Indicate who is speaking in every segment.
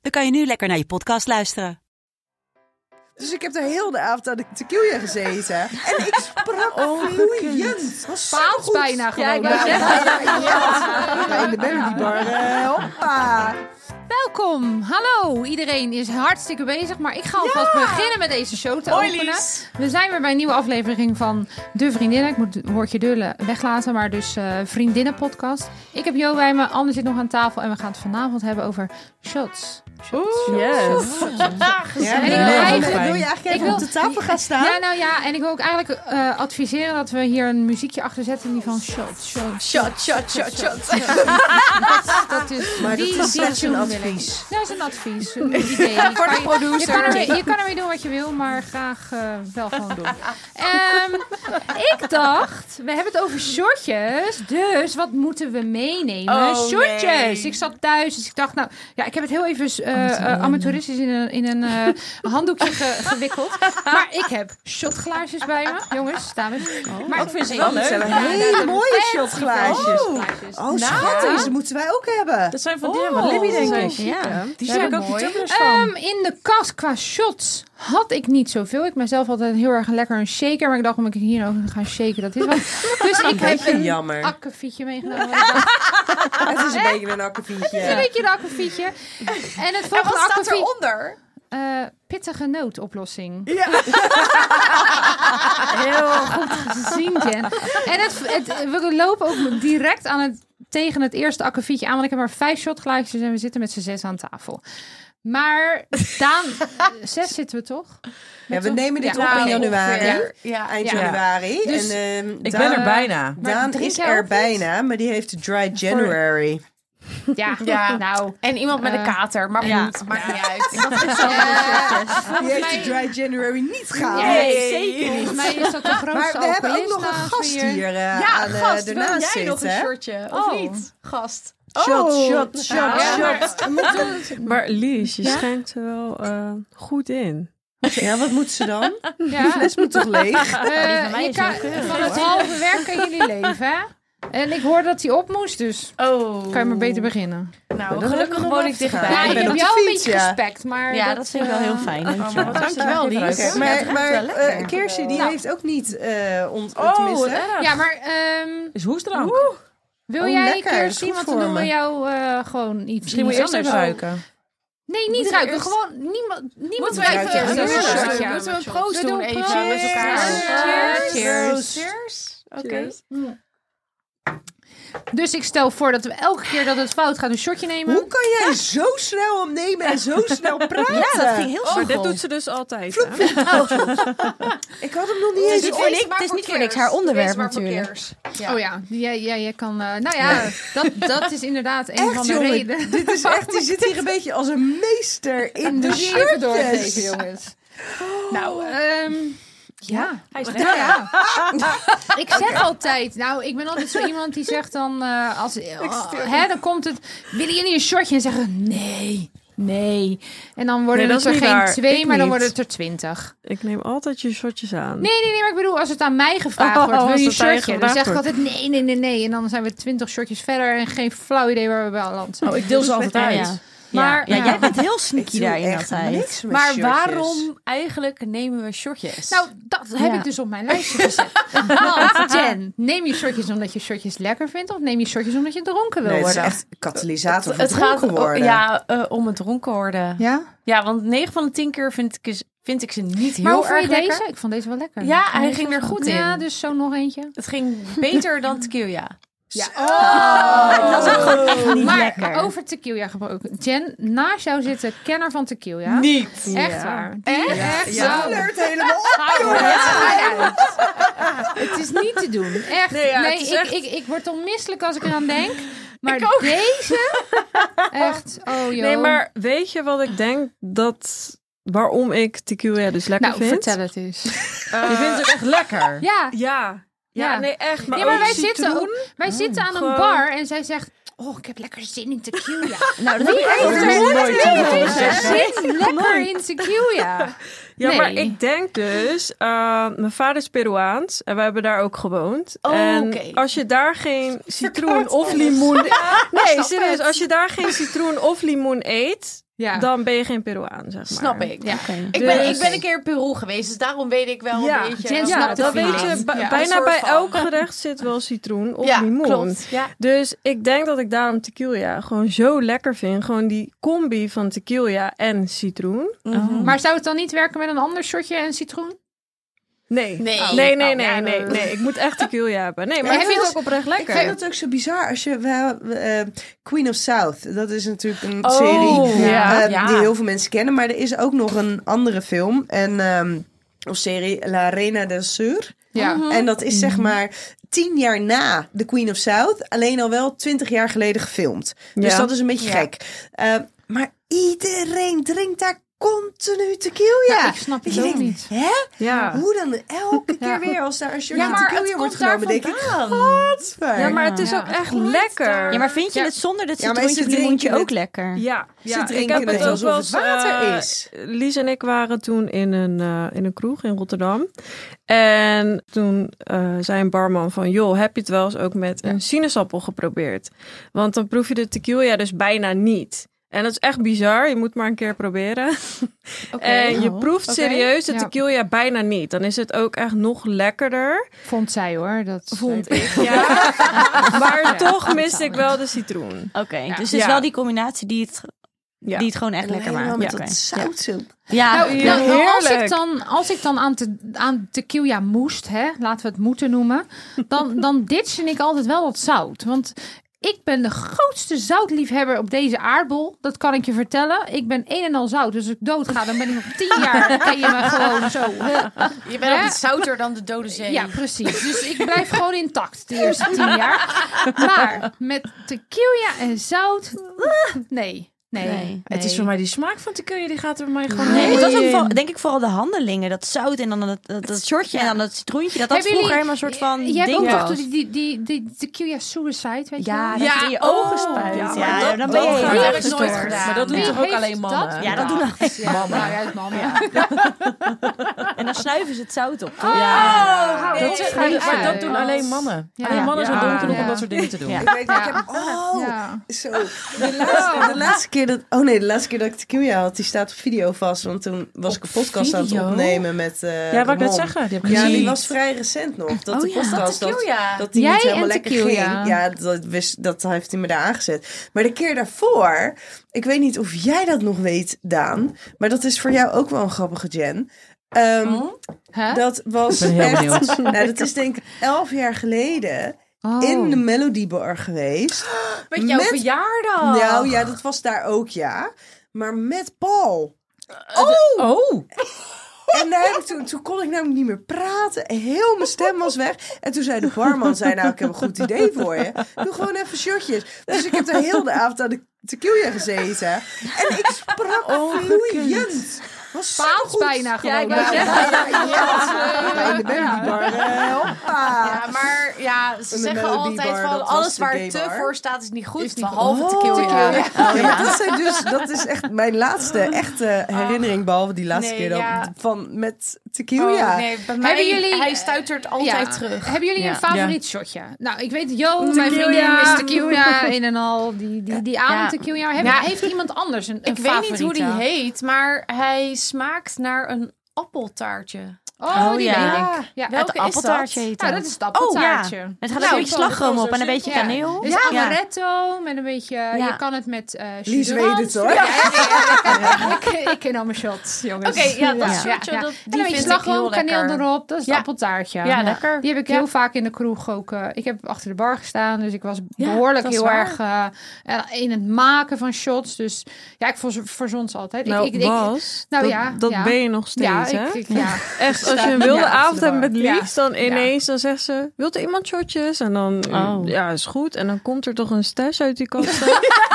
Speaker 1: dan kan je nu lekker naar je podcast luisteren.
Speaker 2: Dus ik heb daar heel de avond aan de tequila gezeten. En ik sprak vloeiend. Was
Speaker 3: Spaans
Speaker 2: supergoed.
Speaker 3: bijna gewoon.
Speaker 4: Ja, ik wou zeggen.
Speaker 2: Ja, in de Melody Bar. eh, hoppa.
Speaker 3: Welkom, hallo. Iedereen is hartstikke bezig, maar ik ga alvast beginnen met deze show te
Speaker 2: Hoi,
Speaker 3: openen.
Speaker 2: Lies.
Speaker 3: We zijn weer bij een nieuwe aflevering van De Vriendinnen. Ik moet het woordje dullen weglaten, maar dus eh Vriendinnen podcast. Ik heb Jo bij me, Anne zit nog aan tafel en we gaan het vanavond hebben over shots.
Speaker 4: Yes.
Speaker 2: Ja, eh,
Speaker 3: En ik wil
Speaker 2: wil
Speaker 3: eigenlijk-
Speaker 2: je eigenlijk even
Speaker 3: ik wil-
Speaker 2: op de tafel gaan staan?
Speaker 3: Ja, nou ja, en ik wil ook eigenlijk eh, adviseren dat we hier een muziekje achter zetten die van shots, shots.
Speaker 2: Shot, shot, shot, shot.
Speaker 3: Dat is,
Speaker 2: Ah. Maar dat
Speaker 3: die,
Speaker 2: is
Speaker 3: die
Speaker 2: slechts een
Speaker 3: tune wil ik.
Speaker 2: advies.
Speaker 3: Dat is een advies, een idee. Je kan je- Je kan, ermee, je kan ermee doen wat je wil, maar graag eh, wel gewoon doen. Ehm, ik dacht, we hebben het over shortjes. Dus wat moeten we meenemen?
Speaker 2: Oh,
Speaker 3: shortjes!
Speaker 2: nee.
Speaker 3: Ik zat thuis, dus ik dacht, nou ja, ik heb het heel even eh, eh, amateuristisch in een, in een eh, handdoekje ge- gewikkeld. Maar ik heb shotglaasjes bij me. Jongens, staan we. Maar ik vind ze
Speaker 2: wel leuk. Hele mooie shotglaasjes. Oh, schattig. Die moeten wij ook hebben.
Speaker 4: Dat zijn van die van Libby, denk ik.
Speaker 1: Ja.
Speaker 4: Die zijn ik ook die tubbers
Speaker 3: Ehm,
Speaker 4: van.
Speaker 3: in de kast qua shots had ik niet zoveel. Ik ben zelf altijd heel erg lekker een shaker. Maar ik dacht, om ik hier ook gaan shaken, dat is wel... Dus ik heb een
Speaker 5: jammer.
Speaker 3: akkefietje meegenomen. want ik dacht,
Speaker 5: het is een beetje een
Speaker 3: Een
Speaker 5: akkefietje.
Speaker 3: beetje een akkefietje. En het volgende
Speaker 6: En wat staat
Speaker 3: akkefietje...
Speaker 6: eronder?
Speaker 3: eh, pittige noodoplossing.
Speaker 2: Ja.
Speaker 3: Heel goed gezien, Jen. En het, het, we lopen ook direct aan het, tegen het eerste akkefietje aan. Want ik heb maar vijf shotglaasjes en we zitten met z'n zes aan tafel. Maar Daan, zes zitten we toch?
Speaker 2: Ja, we nemen dit
Speaker 3: Ja,
Speaker 2: op in
Speaker 3: nou,
Speaker 2: januari.
Speaker 3: ongeveer.
Speaker 6: Ja.
Speaker 2: Eind
Speaker 3: Ja.
Speaker 2: januari.
Speaker 3: Dus
Speaker 2: en, ehm,
Speaker 4: Ik
Speaker 2: Daan-
Speaker 4: ben er bijna.
Speaker 3: Maar
Speaker 2: Daan
Speaker 3: drink
Speaker 2: is
Speaker 3: jij
Speaker 2: er
Speaker 3: ook niet?
Speaker 2: bijna, maar die heeft de dry January.
Speaker 3: Ja,
Speaker 6: Ja.
Speaker 3: nou.
Speaker 6: En iemand met
Speaker 3: Eh,
Speaker 6: een kater, maar
Speaker 4: ja.
Speaker 6: goed, maakt niet uit.
Speaker 2: Die heeft de
Speaker 3: mij-
Speaker 2: dry January niet gehaald.
Speaker 3: Nee, Volgens mij is dat de
Speaker 2: Maar
Speaker 3: grootste
Speaker 2: we hebben ook nog
Speaker 3: alcoholist
Speaker 2: een
Speaker 3: naast
Speaker 2: gast
Speaker 3: me
Speaker 2: hier, eh,
Speaker 6: Ja,
Speaker 2: aan eh,
Speaker 6: gast, wil jij
Speaker 2: ernaast zitten. Oh.
Speaker 6: nog een
Speaker 2: hè?
Speaker 6: shirtje?
Speaker 3: Oh.
Speaker 6: Of niet? Gast.
Speaker 2: Shot, shot,
Speaker 7: Nou,
Speaker 2: shot,
Speaker 6: Ja,
Speaker 2: shot.
Speaker 6: maar-
Speaker 4: Maar Lies, je schijnt er wel eh, goed in.
Speaker 2: Ja, wat moet ze dan?
Speaker 3: Ja.
Speaker 2: Les moet toch leeg?
Speaker 3: Eh,
Speaker 4: van mij
Speaker 3: je
Speaker 4: is
Speaker 3: kan-
Speaker 4: wel keurig,
Speaker 3: van het halve werk kan jullie leven, hè? En ik hoorde dat hij op moest, dus
Speaker 6: Oh.
Speaker 3: kan je maar beter beginnen.
Speaker 6: Nou,
Speaker 2: dan hebben we
Speaker 6: gelukkig
Speaker 2: nog
Speaker 6: woon
Speaker 2: wat
Speaker 6: ik
Speaker 2: te gaan.
Speaker 6: dichtbij.
Speaker 3: Ja,
Speaker 2: ik
Speaker 3: ik
Speaker 2: ben
Speaker 3: heb
Speaker 2: op de
Speaker 3: jou een
Speaker 2: fiets,
Speaker 3: beetje
Speaker 2: ja.
Speaker 3: respect, maar...
Speaker 4: Ja, dat vind ik wel heel fijn. dankjewel.
Speaker 6: maar wat dankjewel, Lies.
Speaker 4: Oké.
Speaker 2: Maar, maar eh, Kersje, die heeft ook niet eh ont ontmissen.
Speaker 3: Ja, maar ehm,
Speaker 4: Is hoestdrank.
Speaker 3: wil
Speaker 2: Oh,
Speaker 3: jij
Speaker 2: lekker,
Speaker 3: een keer
Speaker 2: is goed
Speaker 3: zien, want
Speaker 2: voor
Speaker 3: dan doen we
Speaker 2: me.
Speaker 3: jou eh, gewoon iets
Speaker 4: Misschien moet je
Speaker 3: iets
Speaker 4: eerst even
Speaker 3: anders.
Speaker 4: ruiken.
Speaker 3: Nee, niet ruiken. Gewoon niemand, niemand
Speaker 6: Moeten we
Speaker 3: ruikt
Speaker 6: even
Speaker 3: eerst
Speaker 2: Ja,
Speaker 3: een
Speaker 2: ja,
Speaker 3: shotje.
Speaker 2: ja.
Speaker 6: Moeten we een proost
Speaker 3: We
Speaker 6: doen
Speaker 3: doen
Speaker 6: even
Speaker 3: proost.
Speaker 6: met elkaar?
Speaker 3: Cheers.
Speaker 2: Cheers.
Speaker 6: Cheers. Oké.
Speaker 3: Dus ik stel voor dat we elke keer dat het fout gaat een shotje nemen.
Speaker 2: Hoe kan jij zo snel hem nemen en zo snel praten?
Speaker 4: Ja, dat ging heel
Speaker 3: Oh,
Speaker 4: snel. Maar dit
Speaker 6: goed.
Speaker 4: doet ze dus altijd. hè?
Speaker 2: Ik had hem nog niet eens.
Speaker 4: niet
Speaker 2: op-
Speaker 4: voor niks- het is niet voor niks haar onderwerp natuurlijk.
Speaker 3: Oh ja, jij, jij, jij kan. eh, nou ja, dat, dat is inderdaad een van
Speaker 2: Echt,
Speaker 3: de
Speaker 2: jongen.
Speaker 3: redenen.
Speaker 2: Dit is echt, die zit hier een beetje als een meester in de
Speaker 3: Dus even
Speaker 2: shirtjes.
Speaker 3: doorgeven, jongens. Nou, ehm, ja.
Speaker 4: Hij is
Speaker 3: Nou ja. ik zeg altijd, nou, ik ben altijd zo iemand die zegt dan, eh, als, oh, hè, dan komt het, willen jullie een shortje? En zeggen, nee, nee. En dan worden
Speaker 4: Nee,
Speaker 3: het
Speaker 4: dat
Speaker 3: er
Speaker 4: is
Speaker 3: geen
Speaker 4: niet waar.
Speaker 3: twee,
Speaker 4: Ik
Speaker 3: maar dan
Speaker 4: niet.
Speaker 3: worden het er twintig.
Speaker 4: Ik neem altijd je shotjes aan.
Speaker 3: Nee, nee, nee, maar ik bedoel, als het aan mij gevraagd
Speaker 4: Oh,
Speaker 3: wordt, wil
Speaker 4: als
Speaker 3: je een
Speaker 4: het aan je
Speaker 3: shortje? Dan zeg
Speaker 4: gevraagd
Speaker 3: ik
Speaker 4: wordt.
Speaker 3: altijd, nee, nee, nee, nee. En dan zijn we twintig shortjes verder en geen flauw idee waar we bij landen.
Speaker 4: Oh, ik deel ze altijd
Speaker 7: Ja,
Speaker 4: uit.
Speaker 7: ja.
Speaker 3: Maar-
Speaker 7: Maar ja,
Speaker 3: ja.
Speaker 7: jij bent heel
Speaker 2: Ik
Speaker 7: sneaky
Speaker 2: doe
Speaker 7: daarin
Speaker 2: echt
Speaker 7: altijd.
Speaker 2: niks met
Speaker 7: Maar
Speaker 2: shirtjes.
Speaker 7: waarom eigenlijk nemen we shortjes?
Speaker 3: Nou, dat heb
Speaker 7: Ja.
Speaker 3: ik dus op mijn lijstje gezet. Want Jen, neem je shortjes omdat je shortjes lekker vindt... of neem je shortjes omdat je dronken wil
Speaker 2: Nee, het is
Speaker 3: worden?
Speaker 2: echt een katalysator van
Speaker 7: het gaat
Speaker 2: dronken worden.
Speaker 7: ja, eh, om het dronken worden. Ja,
Speaker 3: Ja?
Speaker 7: want 9 van de 10 keer vind ik, is- vind ik ze niet heel
Speaker 3: Maar hoe vond
Speaker 7: erg
Speaker 3: je
Speaker 7: lekker.
Speaker 3: deze? Ik vond deze wel lekker.
Speaker 7: Ja,
Speaker 3: Ik vond
Speaker 7: hij
Speaker 3: deze
Speaker 7: ging er
Speaker 3: wel-
Speaker 7: goed
Speaker 3: Ja,
Speaker 7: in.
Speaker 3: dus zo nog eentje.
Speaker 7: Het ging beter dan tequila.
Speaker 2: Oh,
Speaker 3: Dat is gewoon
Speaker 7: echt
Speaker 3: maar over tequila gebroken. Jen, naast jou zit de kenner van tequila.
Speaker 7: Niet.
Speaker 3: Echt waar. Echt? Echt
Speaker 2: Ze
Speaker 3: zo.
Speaker 2: flirt helemaal op.
Speaker 3: Hou er uit. Het is niet te doen. Echt. Nee,
Speaker 7: Nee, ja, het is
Speaker 3: ik,
Speaker 7: echt-
Speaker 3: Ik, ik word onmisselijk als ik eraan denk. Maar deze, echt, oh joh.
Speaker 4: Nee, maar weet je wat ik denk dat... Waarom ik tequila dus lekker
Speaker 3: nou,
Speaker 4: vind?
Speaker 3: vertel het eens.
Speaker 4: Eh,
Speaker 6: Je vindt het echt lekker.
Speaker 3: Ja,
Speaker 4: Ja. Ja,
Speaker 3: Ja.
Speaker 4: nee, echt. Maar, oh,
Speaker 3: nee, maar
Speaker 4: ook
Speaker 3: wij zitten,
Speaker 4: citroen.
Speaker 3: ook-
Speaker 2: Mm,
Speaker 3: wij zitten aan
Speaker 4: gewoon-
Speaker 3: een bar en zij zegt... Oh, ik heb lekker zin in tequila.
Speaker 8: Nou, dat heb ik ook
Speaker 3: heeft
Speaker 8: nog
Speaker 3: er-
Speaker 8: nooit
Speaker 3: Wie
Speaker 8: gedaan.
Speaker 3: heeft er zin lekker in tequila?
Speaker 4: Ja,
Speaker 3: Nee.
Speaker 4: maar ik denk dus... eh, mijn vader is Peruaans en we hebben daar ook gewoond. en
Speaker 7: Oh, oké.
Speaker 4: als je daar geen citroen of limoen... e- Nee, serieus. Als je daar geen citroen of limoen eet,
Speaker 3: Ja.
Speaker 4: dan ben je geen Peruaan, zeg maar.
Speaker 7: Snap ik.
Speaker 3: Ja.
Speaker 7: Ik, ben,
Speaker 4: Dus-
Speaker 7: ik ben een keer in Peru geweest, dus daarom weet ik wel
Speaker 4: Ja,
Speaker 7: een beetje...
Speaker 3: Jen
Speaker 7: wat
Speaker 3: snapt
Speaker 7: het
Speaker 4: Ja,
Speaker 3: het
Speaker 4: dat
Speaker 7: verhaal
Speaker 4: weet
Speaker 3: feeling.
Speaker 4: je.
Speaker 7: is.
Speaker 4: bij-
Speaker 7: Ja,
Speaker 4: bijna
Speaker 7: een soort
Speaker 4: bij
Speaker 7: van.
Speaker 4: elk gerecht zit wel citroen of
Speaker 7: Ja,
Speaker 4: limoen.
Speaker 7: klopt. Ja.
Speaker 4: Dus ik denk dat ik daarom tequila gewoon zo lekker vind. Gewoon die combi van tequila en citroen.
Speaker 2: Oh.
Speaker 7: Oh.
Speaker 3: Maar zou het dan niet werken met een ander shotje en citroen?
Speaker 4: Nee.
Speaker 7: Nee.
Speaker 4: Oh. nee, nee,
Speaker 7: Oh,
Speaker 4: nee,
Speaker 7: ja,
Speaker 4: nee,
Speaker 7: dat-
Speaker 4: nee. Ik moet echt tequila hebben. Nee, maar
Speaker 3: heb je
Speaker 4: dat-
Speaker 3: het ook oprecht lekker?
Speaker 2: Ik vind het ook zo bizar als je we- we- eh, Queen of South. Dat is natuurlijk een
Speaker 7: Oh,
Speaker 2: serie
Speaker 7: ja.
Speaker 2: eh,
Speaker 7: Ja.
Speaker 2: die heel veel mensen kennen, maar er is ook nog een andere film en ehm, of serie La Reina del Sur.
Speaker 3: Ja.
Speaker 2: En dat is zeg maar tien jaar na The Queen of South, alleen al wel twintig jaar geleden gefilmd. Dus
Speaker 4: Ja.
Speaker 2: dat is een beetje gek. Eh, maar iedereen drinkt daar continu tequila.
Speaker 3: Ja, ik
Speaker 2: Dat
Speaker 3: snap het
Speaker 2: je
Speaker 3: ook
Speaker 2: denkt,
Speaker 3: niet.
Speaker 2: Hè?
Speaker 4: Ja.
Speaker 2: Hoe dan elke
Speaker 3: Ja.
Speaker 2: keer weer als daar een shirtje
Speaker 7: Ja, maar
Speaker 2: tequila
Speaker 7: het
Speaker 2: wordt
Speaker 7: komt daar
Speaker 2: genomen, denk ik,
Speaker 7: vandaan.
Speaker 2: godver.
Speaker 4: ja, maar het is
Speaker 3: Ja.
Speaker 4: ook echt lekker.
Speaker 8: Ja, maar vind je
Speaker 3: Ja.
Speaker 8: het zonder dat
Speaker 2: Ja, maar
Speaker 8: citroentje
Speaker 2: ze
Speaker 8: of limoentje
Speaker 2: drinken
Speaker 8: ook lekker?
Speaker 4: Ja,
Speaker 2: Ze
Speaker 4: ja,
Speaker 2: drinken
Speaker 4: ik heb
Speaker 2: het
Speaker 4: het ook
Speaker 2: alsof
Speaker 4: wel
Speaker 2: het
Speaker 4: eens,
Speaker 2: water
Speaker 4: eh,
Speaker 2: is.
Speaker 4: Lies en ik waren toen in een, eh, in een kroeg in Rotterdam. En toen eh, zei een barman van... joh, heb je het wel eens ook met een sinaasappel geprobeerd? Want dan proef je de tequila dus bijna niet. En dat is echt bizar. Je moet maar een keer proberen. en
Speaker 2: Oh,
Speaker 4: je proeft serieus de
Speaker 3: Ja.
Speaker 4: tequila bijna niet. Dan is het ook echt nog lekkerder.
Speaker 3: Vond zij hoor. Dat
Speaker 4: Vond
Speaker 3: ik.
Speaker 4: Ja. maar
Speaker 3: Ja,
Speaker 4: toch mis
Speaker 3: zou
Speaker 4: ik wel de citroen.
Speaker 8: Oké,
Speaker 3: Ja.
Speaker 8: dus het is
Speaker 4: Ja.
Speaker 8: wel die combinatie die het,
Speaker 4: Ja.
Speaker 8: die het gewoon echt
Speaker 2: En dan
Speaker 8: lekker
Speaker 2: helemaal met
Speaker 8: maakt. Ja, oké.
Speaker 2: dat zout zo.
Speaker 8: Ja,
Speaker 3: Nou,
Speaker 8: ja.
Speaker 3: nou, als, ik
Speaker 4: heerlijk.
Speaker 3: dan, als ik dan aan, te, aan tequila moest, hè, laten we het moeten noemen, dan, dan ditchen ik altijd wel wat zout. Want ik ben de grootste zoutliefhebber op deze aardbol. Dat kan ik je vertellen. Ik ben een en al zout. Dus als ik doodga, dan ben ik nog tien jaar. Kan je me gewoon zo.
Speaker 7: Je bent altijd
Speaker 3: Hè?
Speaker 7: zouter dan de dode zee.
Speaker 3: Ja, precies. Dus ik blijf gewoon intact de eerste tien jaar. Maar met tequila en zout. Nee. Nee.
Speaker 8: Nee.
Speaker 6: Het is voor mij die smaak van tequila, die gaat er voor mij gewoon
Speaker 8: Nee,
Speaker 6: niet
Speaker 8: maar dat is ook
Speaker 6: in.
Speaker 8: vooral- denk ik vooral de handelingen. Dat zout en dan dat, dat, dat shortje en dan dat citroentje. Dat dat
Speaker 3: Hebben
Speaker 8: vroeger
Speaker 3: jullie-
Speaker 8: helemaal een soort van
Speaker 3: Je hebt
Speaker 8: ding
Speaker 3: ook toch
Speaker 8: was.
Speaker 3: die, die, die, die tequila suicide, weet je
Speaker 8: Ja,
Speaker 3: wel?
Speaker 8: dat je in je ogen
Speaker 7: Oh.
Speaker 8: spuit. Ja,
Speaker 4: maar dat-
Speaker 8: dan ben je
Speaker 6: dat
Speaker 8: heel
Speaker 6: heb ik
Speaker 8: erg
Speaker 6: nooit
Speaker 8: gestoord.
Speaker 6: gedaan. Maar dat doen
Speaker 3: Wie
Speaker 6: toch ook
Speaker 3: heeft
Speaker 6: alleen mannen?
Speaker 8: Ja, dat doen alleen
Speaker 3: Ja, nou ja, het mannen.
Speaker 8: En dan snuiven ze het zout op. toch?
Speaker 3: hou
Speaker 6: Dat
Speaker 3: op,
Speaker 6: zijn-
Speaker 3: ga je
Speaker 6: maar dat
Speaker 3: uit.
Speaker 6: doen alleen mannen.
Speaker 3: Ja.
Speaker 6: Alleen mannen zijn
Speaker 4: Ja.
Speaker 6: dom genoeg
Speaker 3: Ja.
Speaker 6: om dat soort dingen te doen.
Speaker 8: Ja.
Speaker 2: Ik weet, ik
Speaker 3: Ja.
Speaker 2: heb, oh,
Speaker 3: Ja.
Speaker 2: zo. De laatste, de laatste keer dat, oh nee, de laatste keer dat ik tequila had, die staat op video vast. Want toen was ik een podcast aan het
Speaker 6: video?
Speaker 2: opnemen met eh
Speaker 6: Ja, wat ik net
Speaker 2: Ramon.
Speaker 6: zeggen. Die heb ik
Speaker 2: Ja,
Speaker 6: gezien.
Speaker 2: die was vrij recent nog. Dat
Speaker 8: Oh
Speaker 2: de
Speaker 8: ja,
Speaker 2: podcast dat,
Speaker 7: tequila.
Speaker 2: dat die
Speaker 3: Jij
Speaker 2: niet helemaal
Speaker 3: en
Speaker 2: lekker
Speaker 3: tequila.
Speaker 2: ging. Ja, dat, wist, dat heeft hij me daar aangezet. Maar de keer daarvoor, ik weet niet of jij dat nog weet, Daan. Maar dat is voor jou ook wel een grappige Jen. Ehm,
Speaker 3: Hè?
Speaker 2: Dat was
Speaker 6: Ik ben heel
Speaker 2: echt-
Speaker 6: benieuwd.
Speaker 2: Nou, dat is denk ik elf jaar geleden
Speaker 3: Oh.
Speaker 2: in de Melody Bar geweest.
Speaker 7: Met jouw
Speaker 2: Met-
Speaker 7: verjaardag.
Speaker 2: Nou
Speaker 3: Ah.
Speaker 2: ja, dat was daar ook, ja. Maar met Paul.
Speaker 3: Eh,
Speaker 6: Oh!
Speaker 2: En daar heb ik toen, toen kon ik namelijk niet meer praten. Heel mijn stem was weg. En toen zei de barman, zei, nou, ik heb een goed idee voor je. Doe gewoon even shotjes. Dus ik heb de hele avond aan de tequila gezeten. En ik sprak vloeiend. Was
Speaker 3: Spaans
Speaker 2: supergoed.
Speaker 3: Oh, bijna gewoon.
Speaker 7: ik wou
Speaker 3: Ja,
Speaker 7: zeggen.
Speaker 3: ja, ja, ja.
Speaker 2: Ja, in de Melody Bar. eh, hoppa.
Speaker 7: Ja, maar ja, ze
Speaker 2: de
Speaker 7: zeggen
Speaker 2: Melody
Speaker 7: altijd
Speaker 2: Bar,
Speaker 7: van
Speaker 2: dat was
Speaker 7: alles
Speaker 2: de
Speaker 7: waar
Speaker 2: gay
Speaker 7: te
Speaker 2: bar.
Speaker 7: voor staat is niet goed,
Speaker 3: niet
Speaker 7: behalve
Speaker 2: goed.
Speaker 7: tequila.
Speaker 2: Tequila. Oh, Ja, maar dat, zijn dus, dat is echt mijn laatste echte herinnering, behalve die laatste
Speaker 7: Nee,
Speaker 2: keer dan,
Speaker 7: ja.
Speaker 2: van met
Speaker 7: Oh,
Speaker 2: tequila.
Speaker 7: nee, bij mij,
Speaker 3: Hebben jullie-
Speaker 7: hij stuitert altijd
Speaker 3: Ja.
Speaker 7: terug.
Speaker 3: Hebben jullie een
Speaker 7: Ja.
Speaker 3: favoriet shotje? Nou, ik weet, Jo, mijn vriendin is tequila, een en al, die, die, die aan
Speaker 7: Ja.
Speaker 3: tequila. Heb-
Speaker 7: Ja.
Speaker 3: Heeft iemand anders een, een
Speaker 7: Ik weet niet hoe die
Speaker 3: favoriete?
Speaker 7: heet, maar hij smaakt naar een appeltaartje.
Speaker 3: Oh,
Speaker 8: Oh,
Speaker 3: die
Speaker 8: ja.
Speaker 3: ja. ik. Ja,
Speaker 7: Welke
Speaker 8: Het
Speaker 7: is
Speaker 8: appeltaartje
Speaker 7: dat?
Speaker 8: heet
Speaker 3: nou,
Speaker 8: dat.
Speaker 3: dat is het appeltaartje.
Speaker 8: Oh, ja. Het gaat
Speaker 7: Nou,
Speaker 8: een beetje slagroom op en een beetje
Speaker 3: Ja.
Speaker 8: kaneel.
Speaker 3: Dus amaretto met een beetje... Je kan het met eh
Speaker 2: Lies
Speaker 3: chudrans.
Speaker 2: weet het hoor.
Speaker 3: Ja, ja, ja. ik, ik ken al mijn shots, jongens.
Speaker 7: Oké, ja, dat
Speaker 3: Ja.
Speaker 7: shotje,
Speaker 3: Ja.
Speaker 7: dat-
Speaker 3: en een
Speaker 7: die
Speaker 3: beetje
Speaker 7: vind ik heel
Speaker 3: slagroom, kaneel
Speaker 7: lekker.
Speaker 3: erop. Dat is het
Speaker 7: Ja.
Speaker 3: appeltaartje.
Speaker 7: Ja, lekker.
Speaker 3: Die heb ik heel vaak in de kroeg ook. eh, ik heb achter de bar gestaan, dus ik was
Speaker 7: Ja,
Speaker 3: behoorlijk
Speaker 7: dat is
Speaker 3: heel
Speaker 7: waar.
Speaker 3: erg eh, eh, in het maken van shots. Dus ja, ik verzo- verzon ze altijd. Ik-
Speaker 4: Nou,
Speaker 3: ik, ik,
Speaker 4: was,
Speaker 3: nou
Speaker 4: dat,
Speaker 3: ja,
Speaker 4: dat
Speaker 3: ja.
Speaker 4: ben je nog steeds,
Speaker 3: ja,
Speaker 4: hè?
Speaker 3: ik, ik- ja.
Speaker 4: Echt als je een
Speaker 3: Ja,
Speaker 4: wilde
Speaker 3: dat is
Speaker 4: avond hebt
Speaker 3: waar.
Speaker 4: met
Speaker 3: Ja.
Speaker 4: liefst, dan ineens dan zegt ze: Wilt er iemand shotjes? En dan
Speaker 6: Oh.
Speaker 4: ja, is goed. En dan komt er toch een stash uit die kast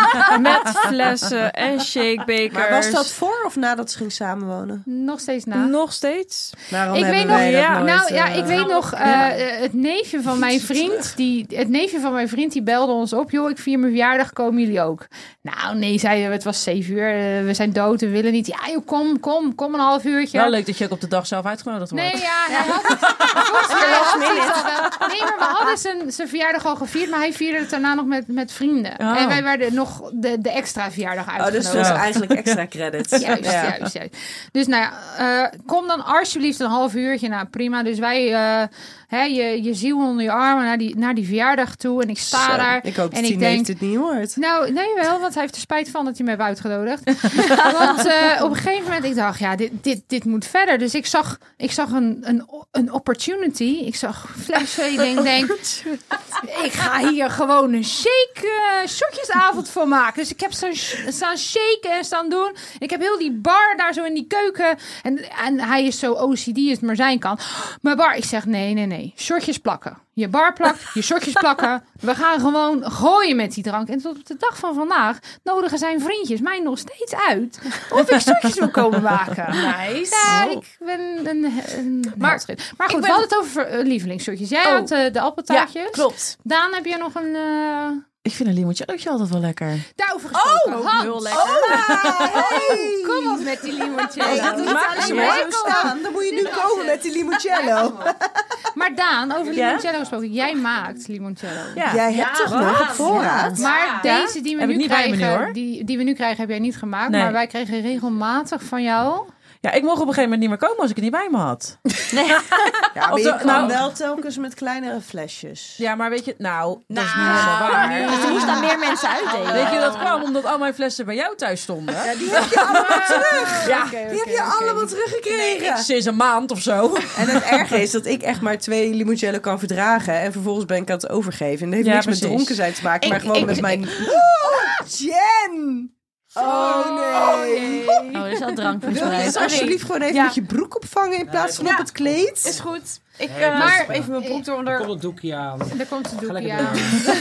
Speaker 4: met flessen en shakebekers.
Speaker 2: Maar was dat voor of nadat ze ging samenwonen?
Speaker 3: Nog steeds na.
Speaker 4: nog steeds?
Speaker 2: Waarom
Speaker 3: Ik
Speaker 2: hebben
Speaker 3: weet nog-
Speaker 2: wij dat
Speaker 4: ja,
Speaker 2: nooit,
Speaker 3: Nou ja,
Speaker 2: eh,
Speaker 3: ik weet nog, eh, eh, het neefje van mijn vriend, die, het neefje van mijn vriend, die belde ons op. Joh, ik vier mijn verjaardag, komen jullie ook? Nou, nee, zeiden we, het was zeven uur, eh, we zijn dood, we willen niet. Ja, joh, kom, kom, kom een half uurtje.
Speaker 6: Wel leuk dat je ook op de dag zelf uitgenodigd wordt.
Speaker 3: Nee, ja, hij had het. Volgens mij had hij het al wel. Nee, maar we hadden zijn, zijn verjaardag al gevierd, maar hij vierde het daarna nog met, met vrienden.
Speaker 6: Oh.
Speaker 3: En wij werden nog de, de extra verjaardag
Speaker 2: Oh,
Speaker 3: uitgenodigd.
Speaker 2: dus dat is
Speaker 6: Ja.
Speaker 2: eigenlijk extra credits.
Speaker 3: Juist, juist, juist. Dus nou ja, eh, kom dan alsjeblieft een half uurtje. Nou, prima. Dus wij, eh, hè, je, je ziel onder je armen naar die, naar die verjaardag toe. En ik sta
Speaker 2: Zo,
Speaker 3: daar.
Speaker 2: Ik hoop
Speaker 3: en
Speaker 2: dat
Speaker 3: ik
Speaker 2: Tine
Speaker 3: denk,
Speaker 2: heeft het niet hoort.
Speaker 3: nou, nee wel, want hij heeft er spijt van dat hij mij heeft uitgenodigd. want eh, op een gegeven moment, ik dacht, ja, dit, dit, dit moet verder. Dus ik zag, ik zag een, een, o- een opportunity. Ik zag flessen. Ik denk, denk, ik ga hier gewoon een shake, eh, shotjesavond van maken. Dus ik heb staan, sh- staan shaken en staan doen. Ik heb heel die bar daar zo in die keuken. En, en hij is zo OCD, is maar zijn kant. Maar bar, ik zeg, nee, nee, nee. Shortjes plakken. Je bar plakt, je shortjes plakken. We gaan gewoon gooien met die drank. En tot op de dag van vandaag nodigen zijn vriendjes mij nog steeds uit. Of ik shortjes wil komen maken.
Speaker 6: Nice.
Speaker 3: Ja, ik ben een... een-
Speaker 6: Maar-
Speaker 3: heldschild. maar goed,
Speaker 6: ik
Speaker 3: we
Speaker 6: ben-
Speaker 3: hadden het over eh, lievelingshortjes. Jij
Speaker 6: Oh.
Speaker 3: had eh, de appeltaartjes.
Speaker 6: klopt.
Speaker 3: Daan, heb jij nog een... eh
Speaker 6: Ik vind een limoncellootje altijd wel lekker.
Speaker 3: daarover gesproken?
Speaker 4: Ook
Speaker 3: Hans,
Speaker 4: heel lekker.
Speaker 3: Kom op met die limoncella.
Speaker 2: Oh, dat doet het als je maar zo staan. Dan moet je nu komen met die limoncello.
Speaker 3: Maar Daan, over
Speaker 6: Ja?
Speaker 3: limoncello gesproken. Jij maakt limoncello.
Speaker 6: Ja.
Speaker 2: Jij hebt toch nog op voorraad?
Speaker 3: Maar
Speaker 6: Ja?
Speaker 3: deze die we,
Speaker 6: Heb
Speaker 3: nu
Speaker 6: ik niet bij me
Speaker 3: krijgen,
Speaker 6: nu, hoor.
Speaker 3: Die, die we nu krijgen, heb jij niet gemaakt.
Speaker 6: Nee.
Speaker 3: Maar wij kregen regelmatig van jou.
Speaker 6: Ja, ik mocht op een gegeven moment niet meer komen als ik het niet bij me had.
Speaker 2: Ja, maar
Speaker 6: Of
Speaker 2: je
Speaker 6: zo-
Speaker 2: kwam
Speaker 6: nou-
Speaker 2: wel telkens met kleinere flesjes.
Speaker 6: Ja, maar weet je, nou, dat is niet helemaal waar.
Speaker 8: Dus er moesten daar meer mensen
Speaker 7: Oh,
Speaker 8: uitdelen.
Speaker 6: Weet je, dat kwam omdat al mijn flessen bij jou thuis stonden. Ja,
Speaker 2: Die heb je allemaal terug.
Speaker 6: ja
Speaker 2: Die heb je allemaal teruggekregen.
Speaker 6: sinds een maand of zo.
Speaker 2: En het erge is dat ik echt maar twee limoncello kan verdragen. En vervolgens ben ik aan het overgeven. En dat heeft
Speaker 6: Ja,
Speaker 2: niks met
Speaker 6: precies.
Speaker 2: dronken zijn te maken.
Speaker 8: Ik-
Speaker 2: maar gewoon
Speaker 8: ik-
Speaker 2: met
Speaker 8: ik-
Speaker 2: mijn... Oh, Jen! Oh nee.
Speaker 8: Oh, er is al drank
Speaker 2: Wil je het
Speaker 8: verspreid.
Speaker 2: alsjeblieft gewoon even met je broek opvangen in plaats van op het kleed?
Speaker 6: Is goed.
Speaker 7: Ik eh
Speaker 3: Maar-
Speaker 7: doe even mijn broek
Speaker 5: Er
Speaker 7: eronder.
Speaker 5: komt een doekje aan.
Speaker 3: Daar komt de doekje
Speaker 5: lekker